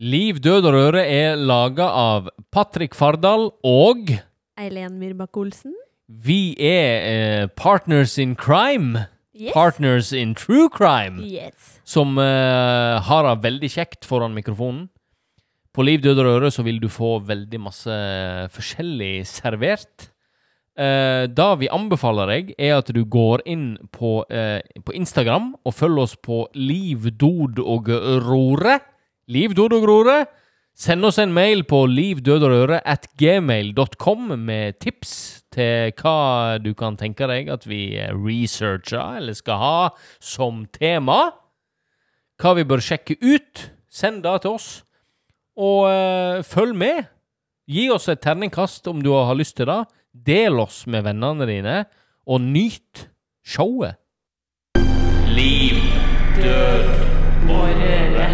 Liv, død og røre er laga av Patrick Fardal og Eileen Myrbakk Olsen. vi er eh, partners in crime. Yes. Partners in true crime. Yes. Som eh, har det veldig kjekt foran mikrofonen. På Liv, død og røre så vil du få veldig masse forskjellig servert. Eh, det vi anbefaler deg, er at du går inn på, eh, på Instagram og følger oss på Liv, dod og rore. Liv, dod og rore. Send oss en mail på livdødrøre at gmail.com med tips til hva du kan tenke deg at vi eh, researcher eller skal ha som tema. Hva vi bør sjekke ut. Send det til oss. Og eh, følg med. Gi oss et terningkast om du har lyst til det. Del oss med vennene dine, og nyt showet. Liv, død og røre.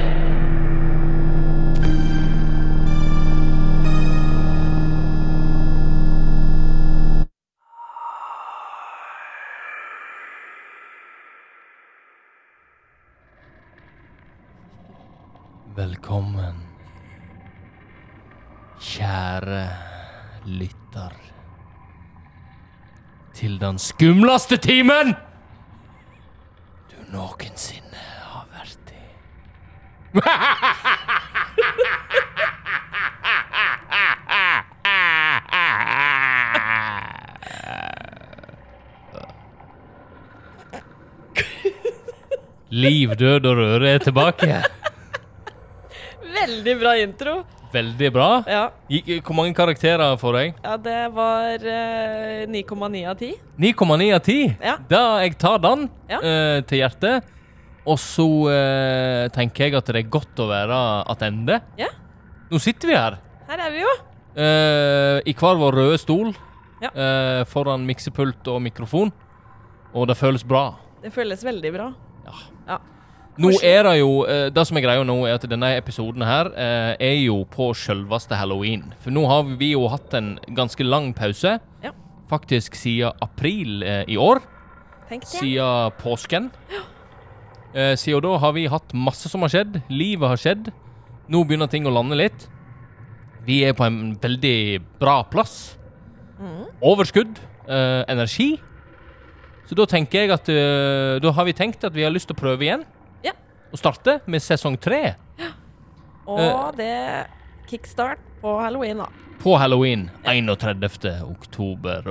Velkommen, kjære lytter, til den skumleste timen du noensinne har vært i. Liv, død og røre er tilbake. Veldig bra intro. Veldig bra. Ja, Gikk- Hvor mange karakterer får jeg? ja det var eh, 9,9 av 10. 9,9 av 10. Ja. Da jeg tar den Ja. eh, til hjertet. Og så eh, tenker jeg at det er godt å være attende. Ja, Nå sitter vi her. her er vi jo. eh, I hver vår røde stol. Ja. eh, foran miksepult og mikrofon. Og det føles bra. Det føles veldig bra. Ja. Ja. Nå Hvordan- er det jo eh, Det som er greia nå, er at denne episoden her eh, er jo på selveste halloween. For nå har vi jo hatt en ganske lang pause. Ja. Faktisk siden april eh, i år. Tenk det. Siden påsken. Eh, siden da har vi hatt masse som har skjedd. Livet har skjedd. Nå begynner ting å lande litt. Vi er på en veldig bra plass. Overskudd. Eh, energi. Så da tenker jeg at eh, Da har vi tenkt at vi har lyst til å prøve igjen. Ja. Og starte med sesong tre eh. Og det kickstart på halloween, da. på halloween 31. oktober.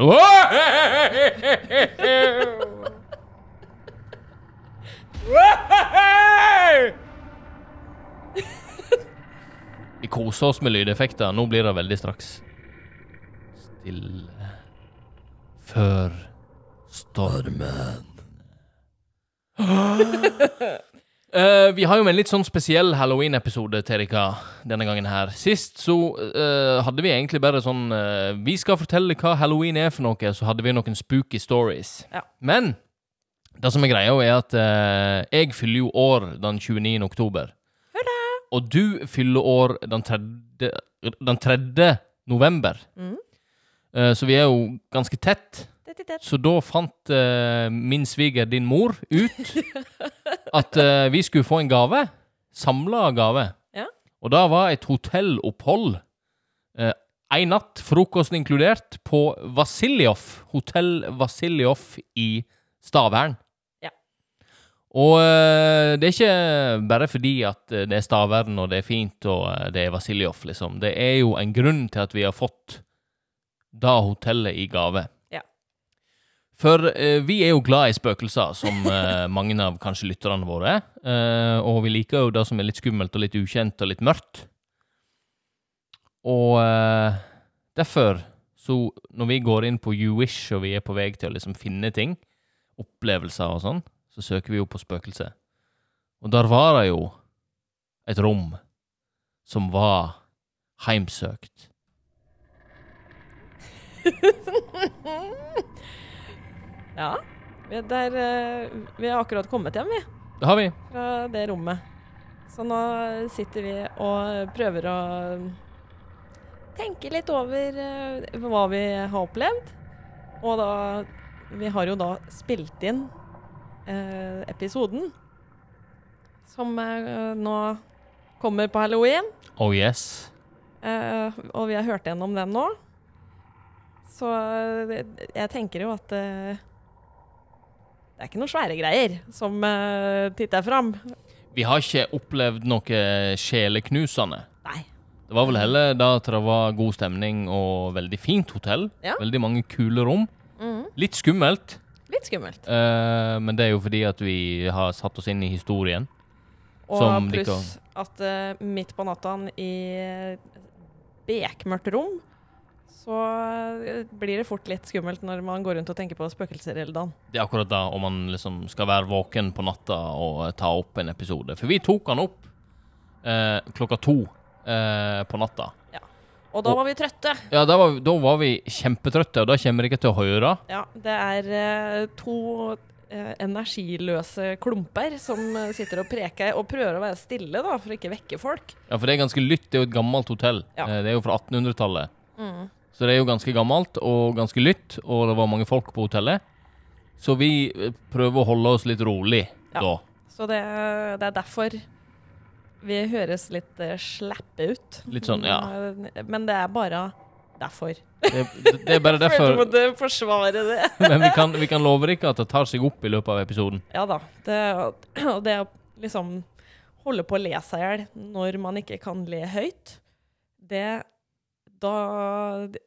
Vi koser oss med lydeffekter. Nå blir det veldig straks. Stille før stormen. Eh, vi har jo med en litt sånn spesiell halloween-episode til dere denne gangen her. Sist så eh, hadde vi egentlig bare sånn eh, Vi skal fortelle hva halloween er for noe, så hadde vi noen spooky stories. Ja. Men det som er greia, jo er at eh, jeg fyller jo år den 29. oktober. Og du fyller år den 3. Den 3. november. Mhm. Eh, så vi er jo ganske tett. Tett i tett. Så da fant eh, min sviger, din mor, ut at eh, vi skulle få en gave. Samla gave. Ja. Og det var et hotellopphold. eh, en natt, frokosten inkludert, på Vasiljev. Hotell Vasiljev i Stavern. Ja. Og eh, det er ikke bare fordi at eh, det er Stavern og det er fint og eh, det er Vasiljev, liksom. Det er jo en grunn til at vi har fått det hotellet i gave. For eh, vi er jo glad i spøkelser, som eh, mange av kanskje lytterne våre. er. Eh, og vi liker jo det som er litt skummelt og litt ukjent og litt mørkt. Og eh, derfor, så når vi går inn på You Wish, og vi er på vei til å liksom finne ting, opplevelser og sånn, så søker vi jo på spøkelse. Og der var det jo et rom som var heimsøkt. Ja. Vi, er der, eh, vi har akkurat kommet hjem, vi, Det har vi. fra det rommet. Så nå sitter vi og prøver å tenke litt over eh, hva vi har opplevd. Og da Vi har jo da spilt inn eh, episoden som eh, nå kommer på halloween. Oh yes. Eh, og vi har hørt gjennom den nå. Så eh, jeg tenker jo at eh, det er ikke noen svære greier som eh, titter fram. Vi har ikke opplevd noe sjeleknusende. Nei. Det var vel heller da at det var god stemning og veldig fint hotell. Ja. Veldig mange kule rom. Litt skummelt, Litt skummelt. eh, men det er jo fordi at vi har satt oss inn i historien. Og Som de pluss at eh, midt på natta i eh, bekmørkt rom, så eh, blir det fort litt skummelt når man går rundt og tenker på spøkelser hele dagen. Det er akkurat da om man liksom skal være våken på natta og ta opp en episode. For vi tok han opp eh, klokka to eh, på natta. Og da Og- var vi trøtte. Ja, da var, da var vi kjempetrøtte, og da kommer dere til å høre. Ja, det er eh, to eh, energiløse klumper som eh, sitter og preker og prøver å være stille da, for å ikke vekke folk. Ja, for det er ganske lytt. Det er jo et gammelt hotell. Ja. Mm. Eh, Det er jo fra 1800-tallet. Så det er jo ganske gammelt og ganske lytt, og det var mange folk på hotellet. Så vi eh, prøver å holde oss litt rolig Ja. da. Så det, det er derfor vi høres litt eh, slappe ut. Litt sånn, ja. Eh, Men det er bare derfor. Det, det, det er bare Jeg derfor. følte jeg måtte forsvare det. Men vi kan, vi kan love dere at det tar seg opp i løpet av episoden. Ja da. Det, og det å liksom holde på å le seg i hjel når man ikke kan le høyt, det Da Det,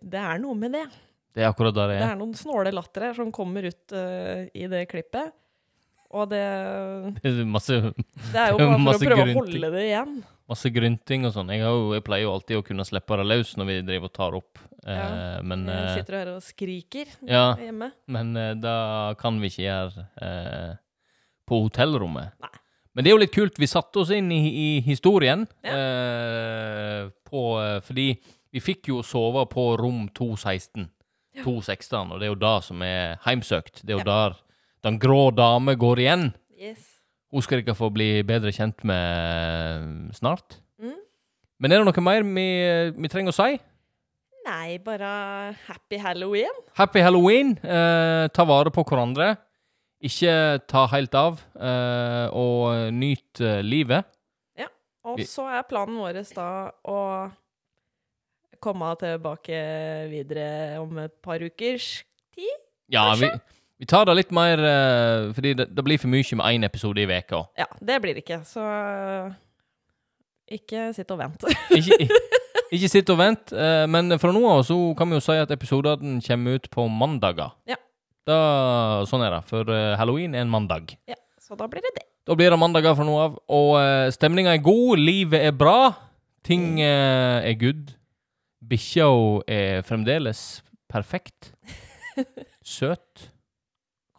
det er noe med det. Det er akkurat det det Det er. er noen snåle latter her som kommer ut eh, i det klippet. Og det, Det er masse, det er jo bare for å Masse prøve å grunn til- holde det igjen. masse grynting og sånn. Jeg, har jo- jeg pleier jo alltid å kunne slippe det løs når vi driver og tar opp. Eh, Ja. Men, Jeg eh, sitter her og skriker ja, hjemme. men eh, da kan vi ikke gjøre eh, på hotellrommet. Nei. Men det er jo litt kult. Vi satte oss inn i, i historien. Ja. Eh, på, eh, fordi vi fikk jo sove på rom 216. 216, og det er jo det som er heimsøkt. Det er jo der den grå dame går igjen. Yes. Hun skal dere få bli bedre kjent med snart. Mm. Men er det noe mer vi, vi trenger å si? Nei, bare happy halloween. Happy halloween. Eh, ta vare på hverandre. Ikke ta helt av. Eh, og nyt eh, livet. Og Vi- så er planen vår da å komme tilbake videre om et par ukers tid. Ja, vi, vi tar det litt mer eh, Fordi det, det blir for mye med én episode i veka. Ja, det blir det ikke, så ikke sitt og vent. Ikke, ikke sitt og vent. eh, men fra nå av så kan vi jo si at episodene kommer ut på mandager. Ja. Da, sånn er det. For eh, halloween er en mandag. ja, så da blir det det. Da blir det mandager fra nå av. Og uh, stemninga er god, livet er bra, ting eh, er good. Bikkja er fremdeles perfekt. Søt.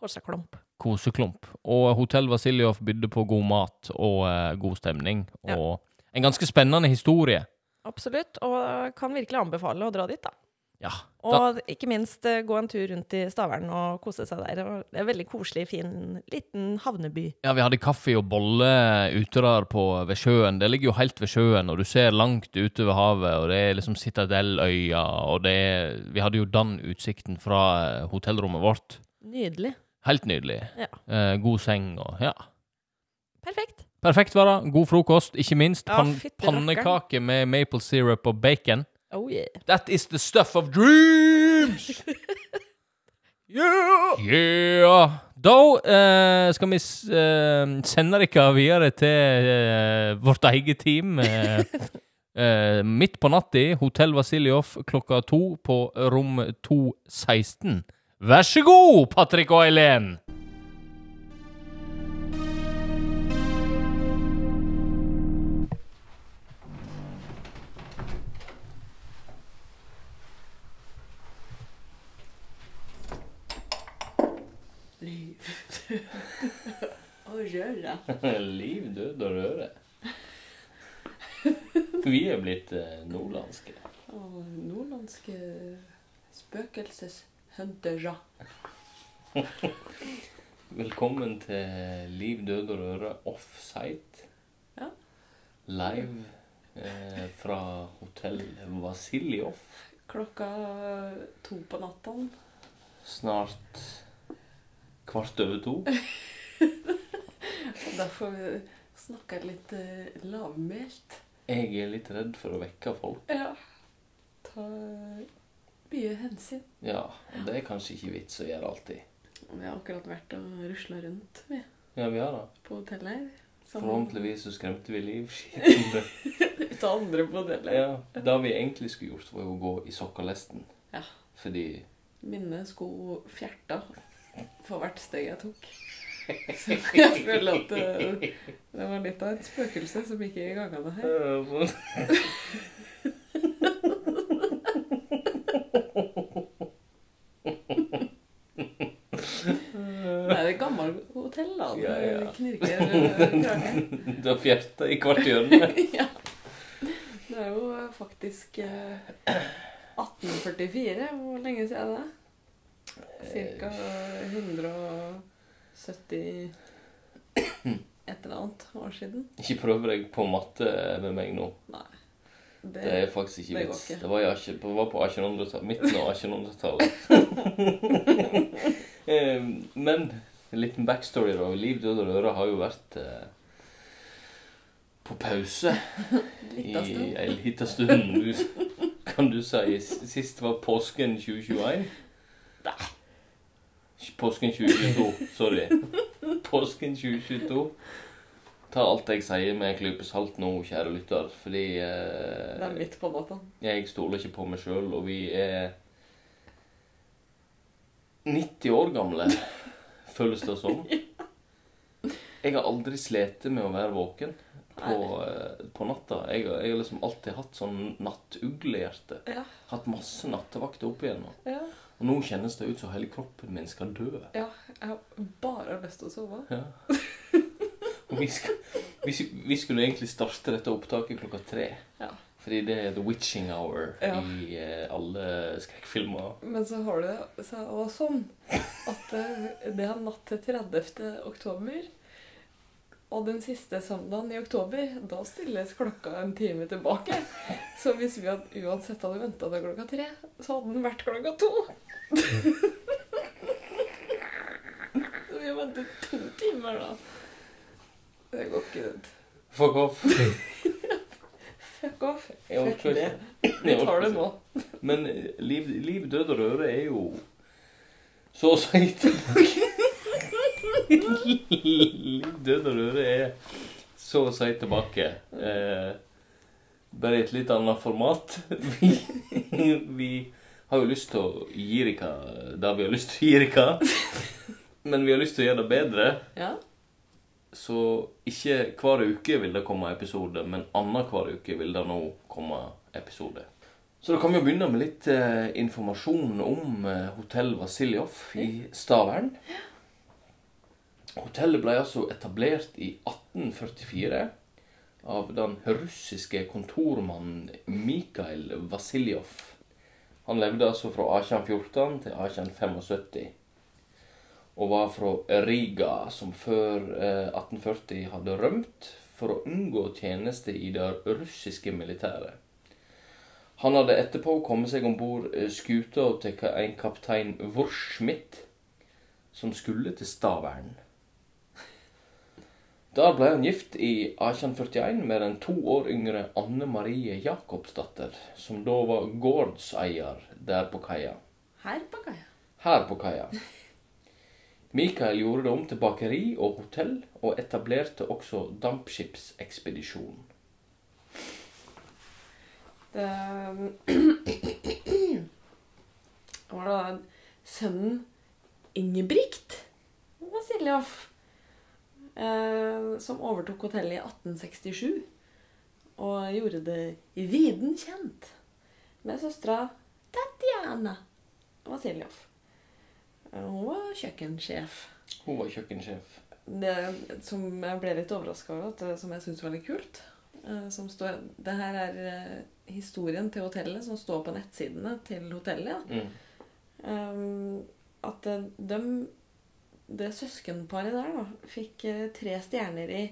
Kålsaklump. Koseklump. Og Hotell Vasiljov bydde på god mat og eh, god stemning. Ja. Og en ganske spennende historie. Absolutt, og kan virkelig anbefale å dra dit, da. Ja. Og ikke minst eh, gå en tur rundt i Stavern og kose seg der. Og Det er en veldig koselig, fin liten havneby. Ja, vi hadde kaffe og bolle ute der på, ved sjøen. Det ligger jo helt ved sjøen, og du ser langt ute ved havet, og det er liksom Citadelløya, og det er Vi hadde jo den utsikten fra eh, hotellrommet vårt. Nydelig. Helt nydelig. Ja. Eh, god seng og Ja. Perfekt. Perfekt var det. God frokost, ikke minst. Ja, Pan fytti rakkeren. pannekake med maple syrup og bacon. Oh yeah. That is the stuff of dreams! yeah! Yeah! Da eh, skal vi s- eh, sende dere videre til eh, vårt eget team. eh, eh, midt på natta, Hotell Vasiljov klokka to på rom 216. Vær så god, Patrick og Eileen! Å røre. Liv, død og røre. Vi er blitt eh, nordlandske. Og nordlandske spøkelseshuntere. Velkommen til Liv, død og røre offsite. Ja. Live eh, fra hotell Vasiljov. Klokka to på natta. Snart kvart over to. Og derfor Snakker litt eh, lavmælt. Jeg er litt redd for å vekke folk. Ja. Ta mye hensyn. Ja, og det er kanskje ikke vits å gjøre alltid. Vi har akkurat vært og rusla rundt vi, Ja, vi har det. på hotellet her. Sammen Forhåpentligvis så skremte vi livskiten. ut av andre på hotellet. Ja, det vi egentlig skulle gjort, var jo å gå i sokkalesten. Ja. Fordi Mine sko fjerta for hvert steg jeg tok. Så jeg føler at det, det var litt av et spøkelse som gikk i gangene her. Det er et gammelt hotell, da. Det Ja, ja. knirker eh, krage. Du har fjerta i hvert hjørne. Ja. Det er jo faktisk eh, 1844. Hvor lenge siden er det? Cirka 170 et eller annet år siden. Ikke prøv deg på matte med meg nå. Det Det er faktisk ikke det går vits. ikke. Det var, i 18 det var på 1800-tallet. Midten av 1800-tallet. Em, Ehm, Men en liten backstory, da. Liv, død og røre har jo vært eh, på pause i litt av stund. ei lita stund. Du- Kan du si s- sist var påsken 2021? Påsken 2022. Sorry. Påsken 2022. Ta alt jeg sier med en klype salt nå, kjære lytter, fordi eh, Det er midt på natta. jeg stoler ikke på meg sjøl, og vi er 90 år gamle, føles det som. Jeg har aldri slitt med å være våken på, eh, på natta. Jeg, har- jeg har liksom alltid hatt sånn nattuglehjerte. Ja. Hatt masse nattevakter opp igjennom. Ja. Og nå kjennes det ut som hele kroppen min skal dø. Ja, jeg har bare lyst til å sove. Ja. Og vi, skal, vi, s- vi skulle egentlig starte dette opptaket klokka tre. Ja. Fordi det er the witching hour Ja. i eh, alle skrekkfilmer. Men så har det seg også sånn at det, det er natt til 30. oktober. Og den siste søndagen i oktober, da stilles klokka en time tilbake. Så hvis vi hadde, uansett hadde venta til klokka tre, så hadde den vært klokka to. Så vi har ventet to timer, da. Det går ikke ut. Fuck off. Fuck off. Jeg Fuck orker ikke. det. Vi Jeg orker tar det ikke. nå. Men eh, liv, liv, død og røre er jo så å si tilbake. Liv, død og røre er så å si tilbake. Eh, bare i et litt annet format. Vi, vi har jo lyst til å gi dere det vi har lyst til å gi dere. Men vi har lyst til å gjøre det bedre, Ja. så ikke hver uke vil det komme episode, men annenhver uke vil det nå komme episode. Så da kan vi jo begynne med litt eh, informasjon om eh, Hotell Vasiljov i Stavern. Hotellet ble altså etablert i 1844 av den russiske kontormannen Mikhail Vasiljov. Han levde altså fra 1814 til 1875. Og var fra Riga, som før eh, 1840 hadde rømt for å unngå tjeneste i det russiske militæret. Han hadde etterpå kommet seg om bord eh, skuta til ka- en kaptein Wurschmidt, som skulle til Stavern. Der ble han gift i 1841 med den to år yngre Anne Marie Jacobsdatter, som da var gårdseier der på kaia. Her på kaia. Her på kaia. Mikael gjorde det om til bakeri og hotell, og etablerte også dampskipsekspedisjon. Det eh, var da sønnen Ingebrigt Vasiljov eh, som overtok hotellet i 1867 og gjorde det viden kjent med søstera Tatjana Vasiljov. Eh, Hun var kjøkkensjef. Hun var kjøkkensjef. Det som jeg ble litt overraska over, at, som jeg syns var litt kult eh, som står, Det her er eh, historien til hotellet som står på nettsidene til hotellet. Mm. Um, at eh, dem- det søskenparet der da, fikk eh, tre stjerner i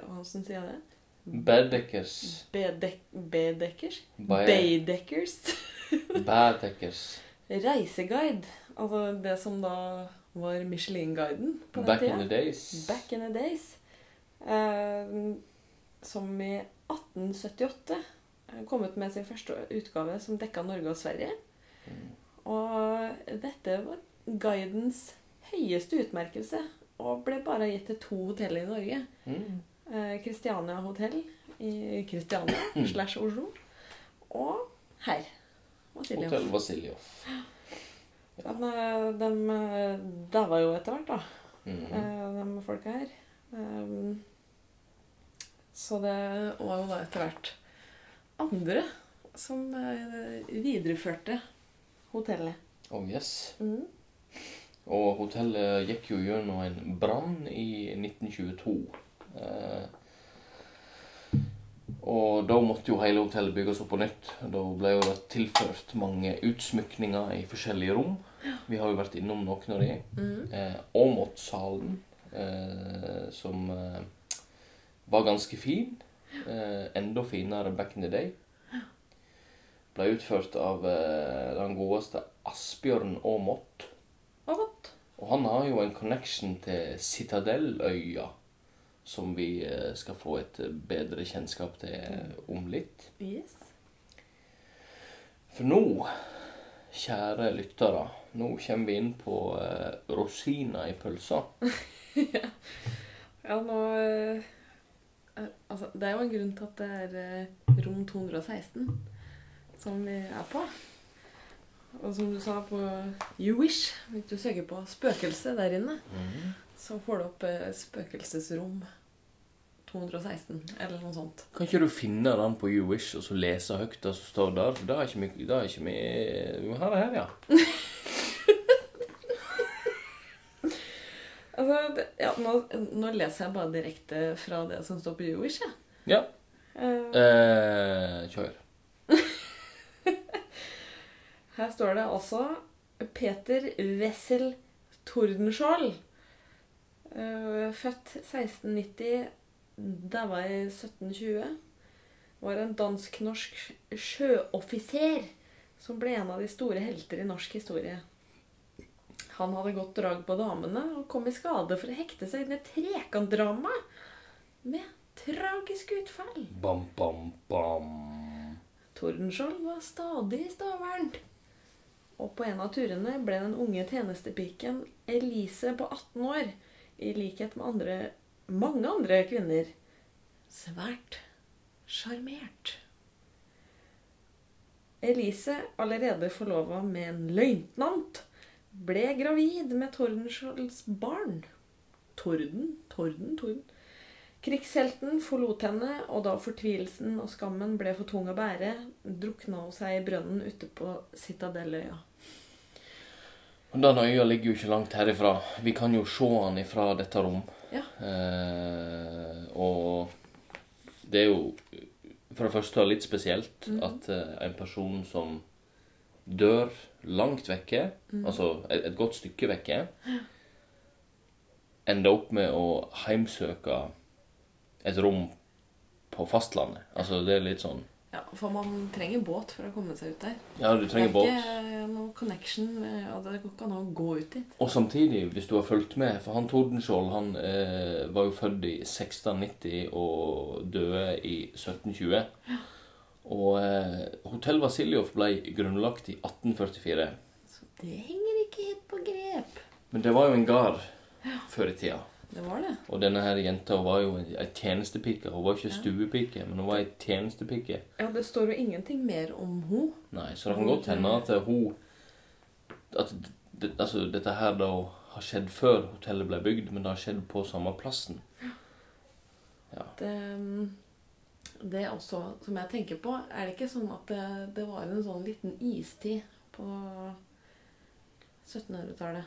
Hvordan sier jeg det? Badeckers. Bedek- Bedekkers? Bae- Baydekkers. Badeckers. Reiseguide. Altså det som da var Michelin-guiden på den Back in tida. the days. Back in the days. Eh, som i 1878 eh, kom ut med sin første utgave som dekka Norge og Sverige. Og dette var guidens høyeste utmerkelse og ble bare gitt til to hoteller i Norge. Mm. Eh, Christiania hotell i Christiania slash Oslo. Og her. Vasiljev. Hotell Vasiljov. Men eh, de eh, daua jo etter hvert, da. Mm. eh, de folka her. Ehm, Eh, så det var jo da etter hvert andre som eh, videreførte hotellet. Mm, Oh yes. Og hotellet gikk jo gjennom en brann i 1922. Eh, og da måtte jo hele hotellet bygges opp på nytt. Da ble jo det tilført mange utsmykninger i forskjellige rom. Vi har jo vært innom noen av de. Eh, Åmotsalen, eh, som eh, var ganske fin. Eh, enda finere back in the day. Ble utført av eh, den godeste Asbjørn Aamodt. Og godt. Og han har jo en connection til Citadelløya, som vi eh, skal få et bedre kjennskap til om litt. Yes. For nå, kjære lyttere, nå kommer vi inn på eh, rosina i pølsa. Ja, nå eh, eh, Altså, det er jo en grunn til at det er eh, rom 216 som vi er på. Og som du sa på You Wish, hvis du søker på spøkelse der inne, så får du opp eh, spøkelsesrom 216, eller noe sånt. Kan ikke du finne den på You Wish og så lese høyt det som står der? For det er ikke mye Det er ikke mye Jo, her er her, ja. Altså, det, ja, nå, nå leser jeg bare direkte fra det som står på You Wish, jeg. Ja. Eh, Eh, kjør. Her står det altså Peter Wessel Tordenskjold. Eh, Født 1690, daua i 1720. Var en dansk-norsk sjøoffiser som ble en av de store helter i norsk historie. Han hadde godt drag på damene og kom i skade for å hekte seg inn i et trekantdrama med tragisk utfall. Bam, bam, bam. Tordenskjold var stadig i Stavern. Og på en av turene ble den unge tjenestepiken Elise på 18 år, i likhet med andre, mange andre kvinner, svært sjarmert. Elise, allerede forlova med en løytnant, ble gravid med Tordenskjolds barn. Torden, Torden, Torden. Krigshelten forlot henne, og da fortvilelsen og skammen ble for tung å bære, drukna hun seg i brønnen ute på Citadelløya. Den øya ligger jo ikke langt herifra. Vi kan jo se den ifra dette rom. Ja. Eh, og det er jo for det første litt spesielt Mm. at eh, en person som dør langt vekke, Mm. altså et, et godt stykke vekke, ender opp med å heimsøke et rom på fastlandet. Altså det er litt sånn Ja, for man trenger båt for å komme seg ut der. Ja, du trenger båt. Det er ikke noe connection, eh, og det går ikke an å gå ut dit. Og samtidig, hvis du har fulgt med For han Tordenskjold han eh, var jo født i 1690 og døde i 1720. Og eh, Hotell Vasiljov ble grunnlagt i 1844. Så det henger ikke helt på grep. Men det var jo en gard før i tida. Det var det. Og denne her jenta hun var jo ei tjenestepike. Hun var ikke stuepike, men hun var ei tjenestepike. Ja, det står jo ingenting mer om henne. Nei, så det kan godt hende at hun At det, altså, dette her da har skjedd før hotellet ble bygd, men det har skjedd på samme plassen. Det, mm, det er også, som jeg tenker på, er det ikke sånn at det, det var en sånn liten istid på Nei, 1700-tallet?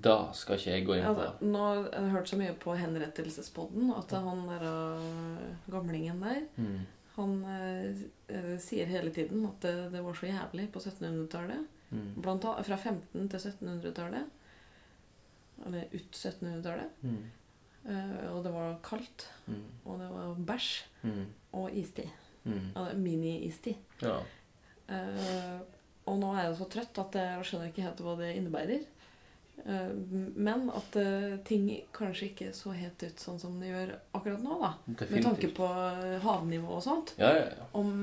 Da skal ikke jeg gå inn på. Altså, nå har jeg hørt så mye på henrettelsespodden at han der øh, gamlingen der Mm. Han øh, øh, sier hele tiden at det, det var så jævlig på 1700-tallet. Mm. Blant annet fra 15 til 1700-tallet. Eller ut 1700-tallet. Mm. Eh, og det var kaldt. Mm. Og det var bæsj. Mm. Og istid. Mm. Ja, det er Mini-istid. Ja. Eh, og nå er jeg så trøtt at jeg skjønner ikke helt hva det innebærer. Eh, Men at eh, ting kanskje ikke så helt ut sånn som det gjør akkurat nå, da. Med tanke Definitivt. på eh, havnivå og sånt. Ja, ja, ja. Om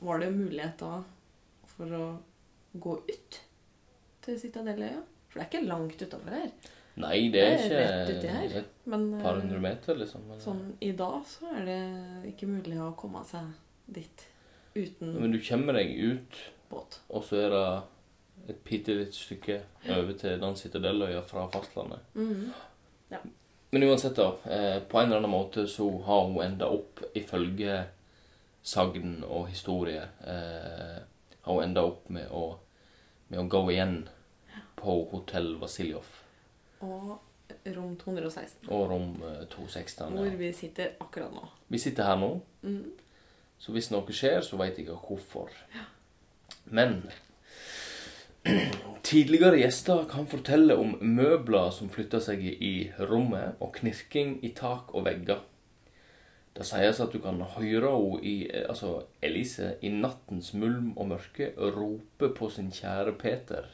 Var det mulighet da for å gå ut til Citadeløya? For det er ikke langt utafor her. Nei, det er Det ikke er rett uti her. et Men par eh, hundre meter, liksom. eller- sånn i dag så er det ikke mulig å komme seg dit uten Men du kommer deg ut, båt. og så er det et bitte lite stykke over til den citadeløya fra fastlandet. Mhm. Men uansett, da. eh, På en eller annen måte så har hun enda opp, ifølge sagn og historie, eh, har hun enda opp med å, med å gå igjen på Hotell Vasiljov Og rom 216, og rom eh, 216. hvor vi sitter akkurat nå. Vi sitter her nå, Mhm. så hvis noe skjer, så veit jeg ikke hvorfor. Men tidligere gjester kan fortelle om møbler som flytter seg i rommet, og knirking i tak og vegger. Det sies at du kan høre henne i Altså Elise i nattens mulm og mørke rope på sin kjære Peter.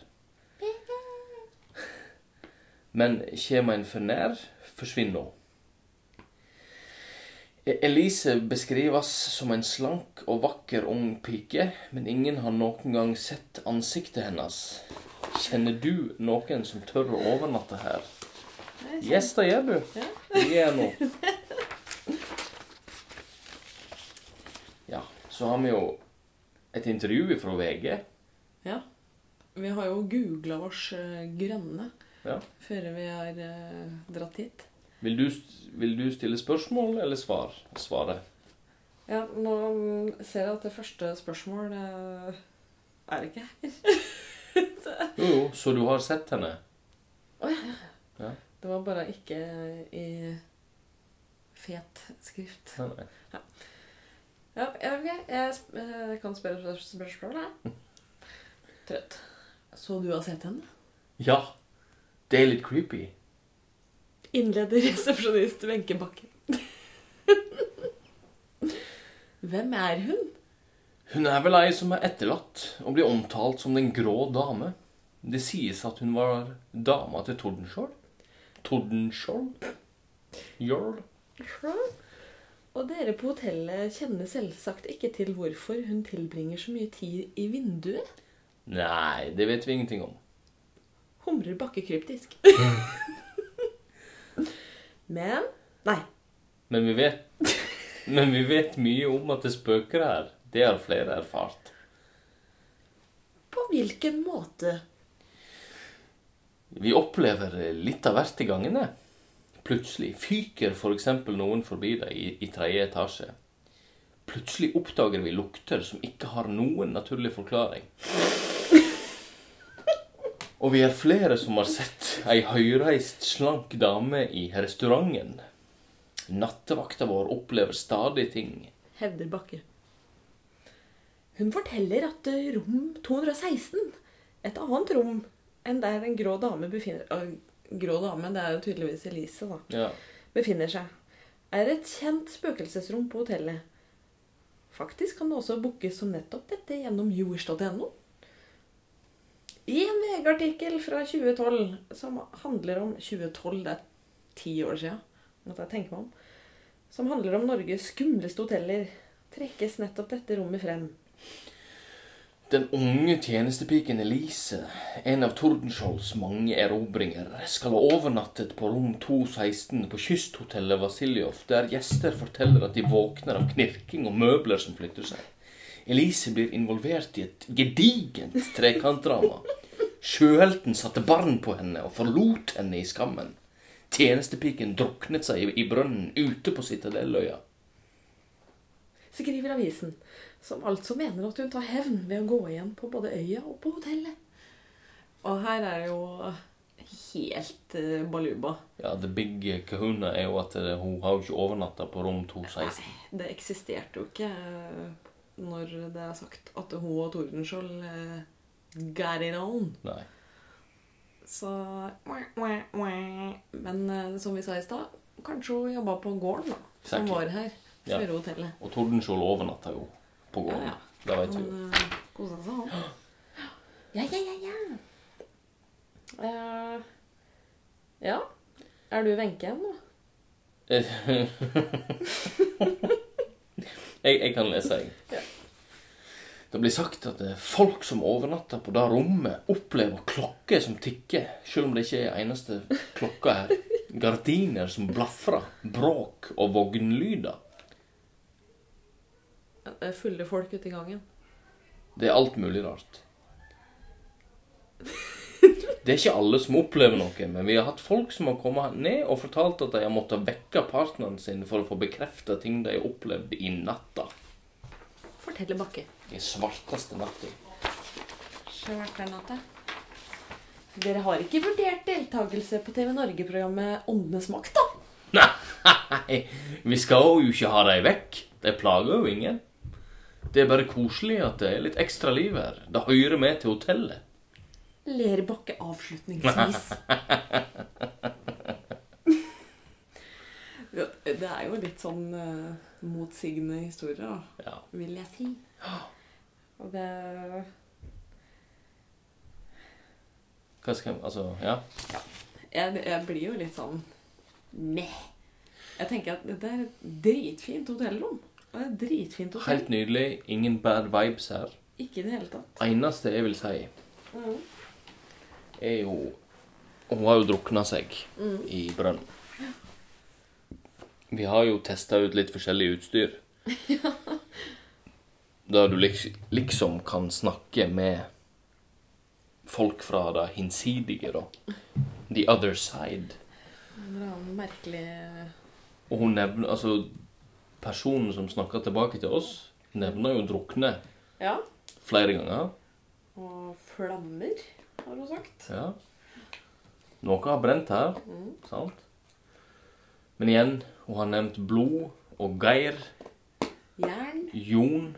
Men kommer en for nær, forsvinner hun. E- Elise beskrives som en slank og vakker ung pike, men ingen har noen gang sett ansiktet hennes. Kjenner du noen som tør å overnatte her? Nei, så- Yes, det gjør du. Det gjør jeg nå. Ja, så har vi jo et intervju fra VG. Ja. Vi har jo googla oss eh, grønne Ja. før vi har eh, dratt hit. Vil du, vil du stille spørsmål eller svar? Svare. Ja, nå mm, ser jeg at det første spørsmål eh, er det ikke. Jo, jo, så du har sett henne? Det var bare ikke i fet skrift. Nei, nei. Ja, ja, ok. Jeg sp- eh, jeg kan spørre spør- spørsmål, jeg. Trøtt. Så du har sett henne? Ja. Det er litt creepy. Innleder resepsjonist Wenche Bakke. Hvem er hun? Hun er vel ei som er etterlatt og blir omtalt som Den grå dame. Det sies at hun var dama til Tordenskjold. Tordenskjold? Jarl? Og dere på hotellet kjenner selvsagt ikke til hvorfor hun tilbringer så mye tid i vinduet, Nei, det vet vi ingenting om. humrer Bakke kryptisk. Men Nei. Men vi vet, men vi vet mye om at det spøker her. Det har flere erfart. På hvilken måte? Vi opplever litt av hvert i gangene. Plutselig fyker f.eks. noen forbi deg i, i tredje etasje. Plutselig oppdager vi lukter som ikke har noen naturlig forklaring. Og vi er flere som har sett ei høyreist, slank dame i restauranten. Nattevakta vår opplever stadig ting. hevder Bakke. Hun forteller at eh, rom 216, et annet rom enn der en grå dame befinner øh, Grå dame, det er jo tydeligvis Elise, da. Ja. Befinner seg. Er et kjent spøkelsesrom på hotellet. Faktisk kan det også bookes som nettopp dette gjennom yours.no. I en VG-artikkel fra 2012 som handler om 2012, det er ti år siden, måtte jeg tenke meg om, som handler om Norges skumleste hoteller, trekkes nettopp dette rommet frem. Den unge tjenestepiken Elise, en av Tordenskiolds mange erobringer, skal ha overnattet på rom 216 på kysthotellet Vasiljov, der gjester forteller at de våkner av knirking og møbler som flytter seg. Elise blir involvert i et gedigent trekantdrama. Sjøhelten satte barn på henne og forlot henne i skammen. Tjenestepiken druknet seg i- i brønnen ute på Citadelløya. skriver avisen, som altså mener at hun tar hevn ved å gå igjen på både øya og på hotellet. Og her er det jo helt eh, baluba. Ja, the big kahuna er jo at eh, hun har jo ikke overnatta på rom 216. Det eksisterte jo ikke eh, når det er sagt at hun og Tordenskjold eh, got it on. Nei. Så Men eh, som vi sa i stad, kanskje hun jobba på gården, da. Som Exactly. var her Ja. før hotellet. Og Tordenskjold overnatta jo på gården. Ja, Det vet vi jo. Han eh, kosa seg, han. Ja, ja, ja, ja. Eh, Ja. Er du Wenche ennå? jeg, jeg kan lese, jeg. eh, Ja. Det blir sagt at eh, folk som overnatter på det rommet, opplever klokker som tikker, selv om det ikke er eneste klokka her. Gardiner som blafrer, bråk og vognlyder. Det er Fulle folk ute i gangen. Det er alt mulig rart. Det er ikke alle som opplever noe, men vi har hatt folk som har kommet ned og fortalt at de har måttet vekke partneren sin for å få bekreftet ting de opplevde i natta. Fortelle Bakke. I svarteste natta. Sjøklernatta. Dere har ikke vurdert deltakelse på TV Norge-programmet Åndenes makt, da? Nei, vi skal jo ikke ha dem vekk. De plager jo ingen. Det er bare koselig at det er litt ekstra liv her. Det hører med til hotellet. Ler Bakke avslutningsvis. Ja, Det er jo litt sånn eh, motsigende historier, da, Ja. vil jeg si. Og det Hva skal Altså, ja. jeg, jeg blir jo litt sånn meh. Jeg tenker at dette er et dritfint hotellrom. Det er et dritfint hotell. Helt nydelig. Ingen bad vibes her. Ikke i det hele tatt. Eneste jeg vil si, er jo Hun har jo drukna seg i brønnen. Vi har jo testa ut litt forskjellig utstyr. Der du liks- liksom kan snakke med folk fra det hinsidige, da. The other side. En eller annen merkelig Og hun nevner Altså, personen som snakker tilbake til oss, nevner jo drukne Ja. flere ganger. Og flammer, har hun sagt. Ja. Noe har brent her, sant? Men igjen, hun har nevnt blod og Geir, Jern. Jon,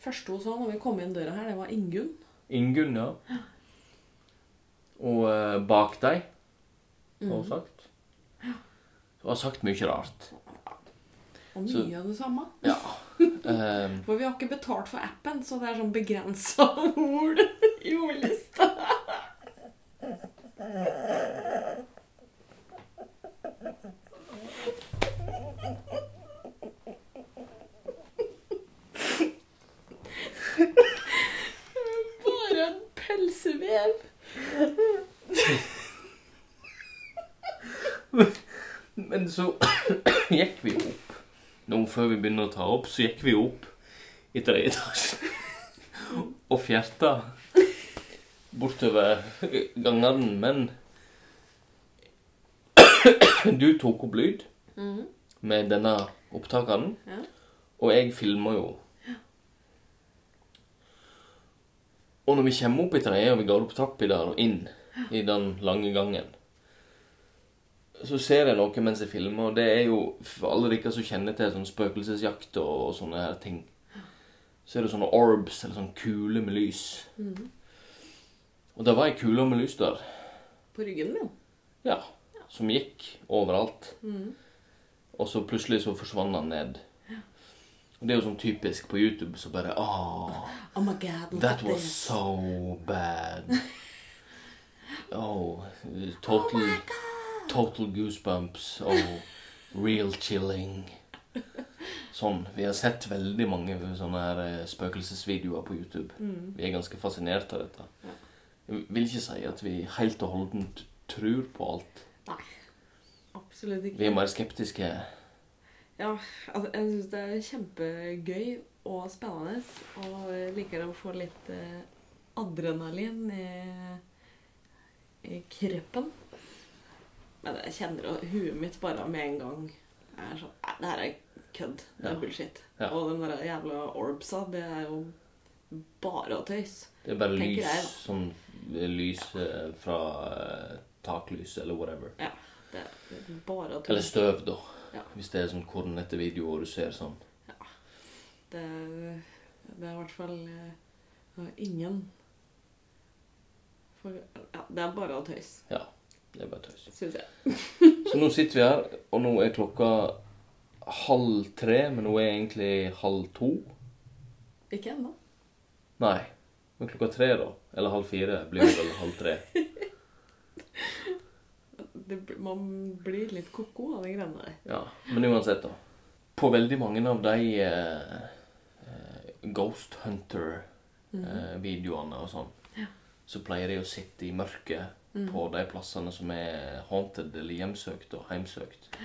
Første hun så når vi kom inn døra her, det var Ingunn. Ingunn, ja. Og eh, bak deg, har hun sagt. Hun har sagt mye rart. Og mye Så- av det samme. Ja. Ehm, For vi har ikke betalt for appen, så det er sånn begrensa ord i ordlista. Bare en pølsevev. men så gikk vi opp. Nå før vi begynner å ta opp, så gikk vi opp i tredje etasje. Og fjerta bortover gangene, men Du tok opp lyd med denne opptakeren, Ja. og jeg filma jo. Og når vi kommer opp i tredje, og vi går opp trappa der og inn i den lange gangen så ser jeg noe mens jeg filmer, og det er jo for alle dere som kjenner til sånn spøkelsesjakt og, og sånne her ting. Så er det sånne orbs, eller sånn kule med lys. Mm. Og det var ei kule med lys der, På ryggen min. ja, som gikk overalt. Mm. Og så plutselig så forsvant den ned. Og det er jo sånn typisk på YouTube, så bare Åh, Oh my god, look at that was this. so bad. Oh, total, total goosebumps. Oh, real chilling. Sånn. Vi har sett veldig mange sånne her eh, spøkelsesvideoer på YouTube. Mm. Vi er ganske fascinert av dette. Jeg vil ikke si at vi helt og holdent tror på alt. Nei, absolutt ikke. Vi er mer skeptiske. Ja, altså, jeg syns det er kjempegøy og spennende. Og jeg liker å få litt eh, adrenalin i, i kreppen. Men jeg kjenner at huet mitt bare med en gang er sånn Nei, det her er kødd. Det Ja. er bullshit. Ja. Og den der jævla orbsa, det er jo bare tøys. Det er bare Tenker lys, jeg, da. sånn eh, lys eh, fra eh, taklys eller whatever. Ja, det er bare Eller tøys. støv, da. Ja. Hvis det er sånn kornete video og du ser sånn. Det, det er i hvert fall eh, det er ingen For, ja, Det er bare tøys. Ja. Det er bare tøys. synes jeg. Så nå sitter vi her, og nå er klokka halv tre, men nå er egentlig halv to. Ikke ennå. Nei. Men klokka tre, da. Eller halv fire blir det vel halv tre. det, bl- man blir litt ko-ko av de greiene der. Ja, men uansett, da. På veldig mange av de eh, eh, Ghost Hunter-videoene og sånn, så pleier de å sitte i mørket på de plassene som er haunted eller hjemsøkt og heimsøkt.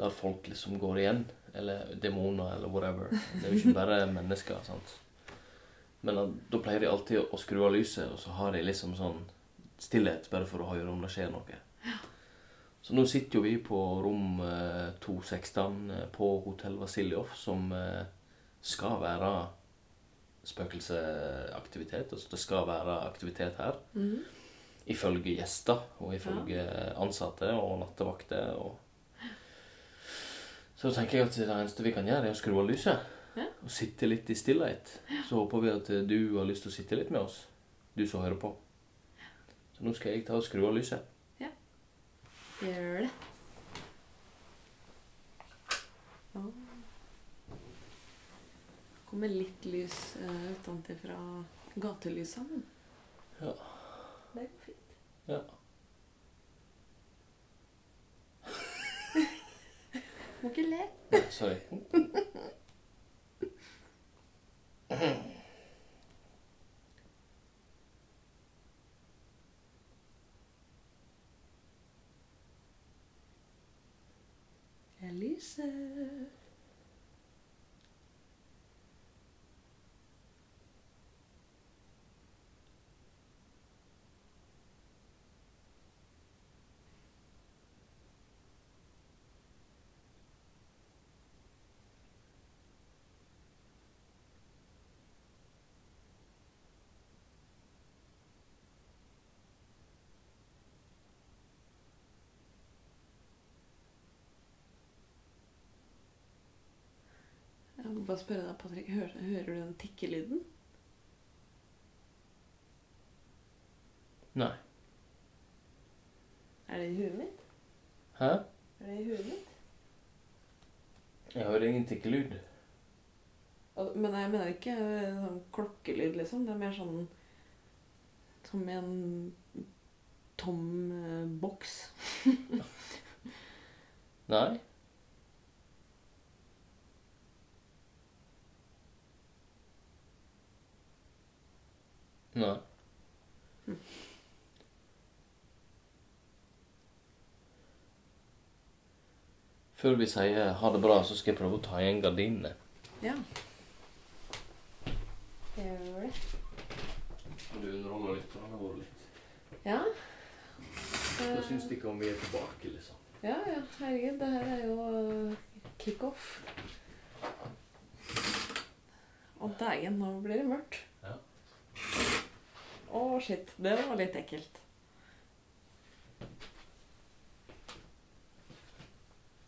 Der folk liksom går igjen. Eller demoner eller whatever. Det er jo ikke bare mennesker. sant? Men da, da pleier de alltid å, å skru av lyset, og så har de liksom sånn stillhet bare for å høre om det skjer noe. Så nå sitter jo vi på rom eh, 216 eh, på Hotell Vasiljov, som eh, skal være spøkelseaktivitet. Altså det skal være aktivitet her. Ifølge gjester og ifølge ansatte og nattevakter. Og... Så tenker jeg at det eneste vi kan gjøre, er å skru av lyset. Og sitte litt i stillhet. Så håper vi at eh, du har lyst til å sitte litt med oss, du som hører på. Så nå skal jeg ta og skru av lyset. Gjør det. Kommer litt lys uh, utenfra gatelysene. Ja. Det går fint. Ja. Må ikke le. Nei, Sorry. Jeg lyser. Jeg må bare spørre deg, Patrick. Hører, hører du den tikkelyden? Nei. Er det i huet mitt? Hæ? Er det i huet mitt? Jeg hører ingen tikkelyd. Al- Men jeg mener ikke eh, sånn klokkelyd, liksom. Det er mer sånn som i en tom eh, boks. Nei. Nei. Før vi sier ha det bra, så skal jeg prøve å ta igjen gardinene. Ja. Gjør det. Du underholder litt, for han har vært litt. Ja. Eh. Da syns de ikke om vi er tilbake, liksom. Ja, ja, herregud. Det her er jo eh, kickoff. Å dægen, nå blir det mørkt. Ja. Å, shit. Det var litt ekkelt.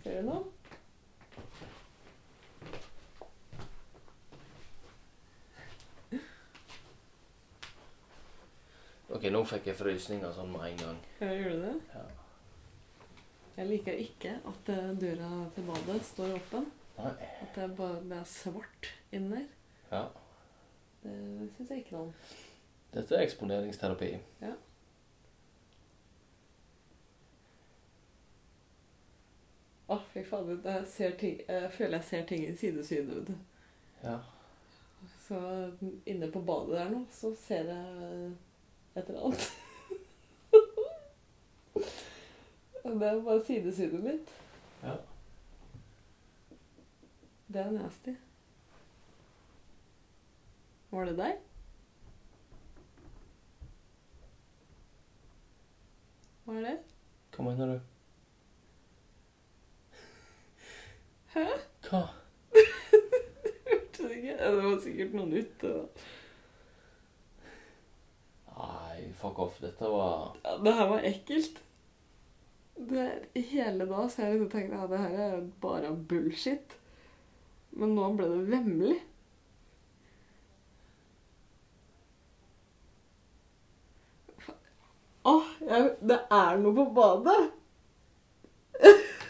Ser du noe? Ok, nå fikk jeg frysninger sånn med en gang. Ja, gjorde du det? Ja. Jeg liker ikke at eh, døra til badet står åpen. Nei. At det er bare det er svart inni der. Ja. Det syns jeg ikke noe om. Dette er eksponeringsterapi. Ja. Å, fy fader. det er- Jeg, ser ting- jeg føler jeg ser ting i sidesynet. vet du. Ja. Så inne på badet der nå, så ser jeg et eller annet. Og det er bare sidesynet mitt. Ja. Det er nasty. Var det deg? Var det? Hva mener du? Hæ? Hva? Hørte du ikke? Ja, Det var sikkert noen ute. da. Nei, fuck off. Dette var Ja, det her var ekkelt. Det, hele da så jeg liksom tenkte at ja, det her er bare bullshit. Men nå ble det vemmelig. Fa- Åh, jeg, det er noe på badet!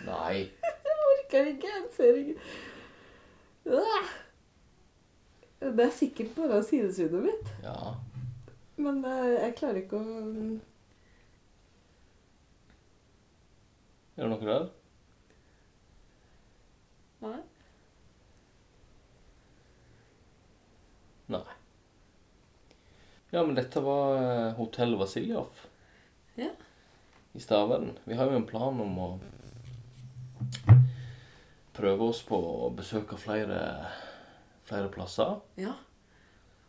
Nei. Jeg orker ikke, jeg ser ikke. Åh! Det er sikkert bare sidesynet mitt. Ja. Men eh, jeg klarer ikke å Er det noe der? Nei. Nei. Ja, men dette var eh, Hotell Vasiljov. Ja. I Stavern. Vi har jo en plan om å prøve oss på å besøke flere, flere plasser. Ja.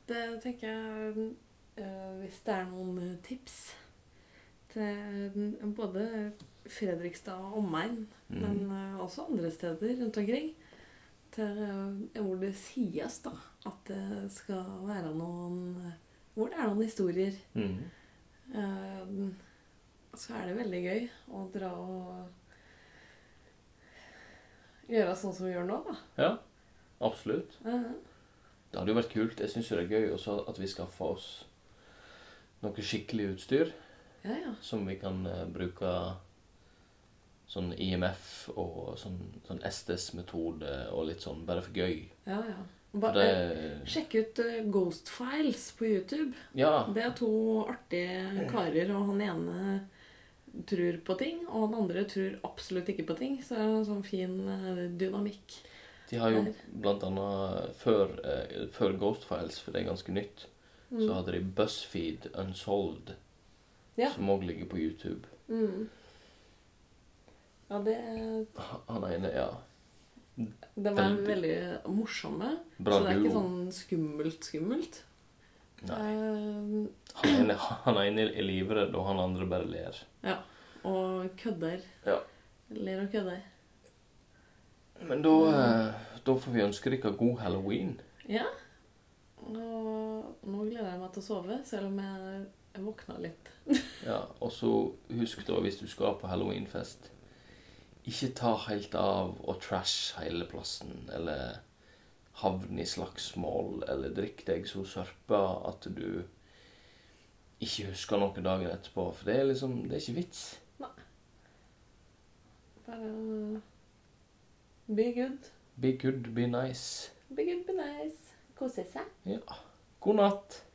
Det tenker jeg eh, Hvis det er noen eh, tips til eh, både Fredrikstad og omegn, Mm. men eh, også andre steder rundt omkring, til eh, hvor det sies da at det skal være noen eh, Hvor det er noen historier. Mhm. Eh, så er det veldig gøy å dra og gjøre sånn som vi gjør nå, da. Ja, absolutt. Eh, Det hadde jo vært kult. Jeg syns jo det er gøy også at vi skaffer oss noe skikkelig utstyr ja, ja. som vi kan eh, bruke sånn IMF og sånn, sånn STS-metode og litt sånn bare for gøy. ja, ja. For Ba, det Sjekk ut eh, Ghost Files på YouTube. Ja. Det er to artige karer, og han ene tror på ting, og han andre tror absolutt ikke på ting. Så det er en sånn fin eh, dynamikk. De har jo blant annet før, eh, før Ghost Files, for det er ganske nytt, så hadde de BuzzFeed Unsolved, Ja. som òg ligger på YouTube. Mm. Ja, det, Han ene, ja. de er Veldig. veldig morsomme. Bra så det er duo. ikke sånn skummelt-skummelt. Nei. Eh, Han ene, han ene er livredd, og han andre bare ler. ja. Og kødder. Ja. Ler og kødder. Men da, eh, da får vi ønske dere god halloween. Ja. Og nå gleder jeg meg til å sove, selv om jeg, jeg våkna litt. Ja, og så husk da, hvis du skal på halloweenfest, ikke ta helt av og trash hele plassen, eller havne i slagsmål, eller drikk deg så sørpa at du ikke husker noe dagen etterpå, for det er liksom, det er ikke vits. Bare eh, be good. Be good, be nice. Be good, be nice. Kose seg. Ja. God natt.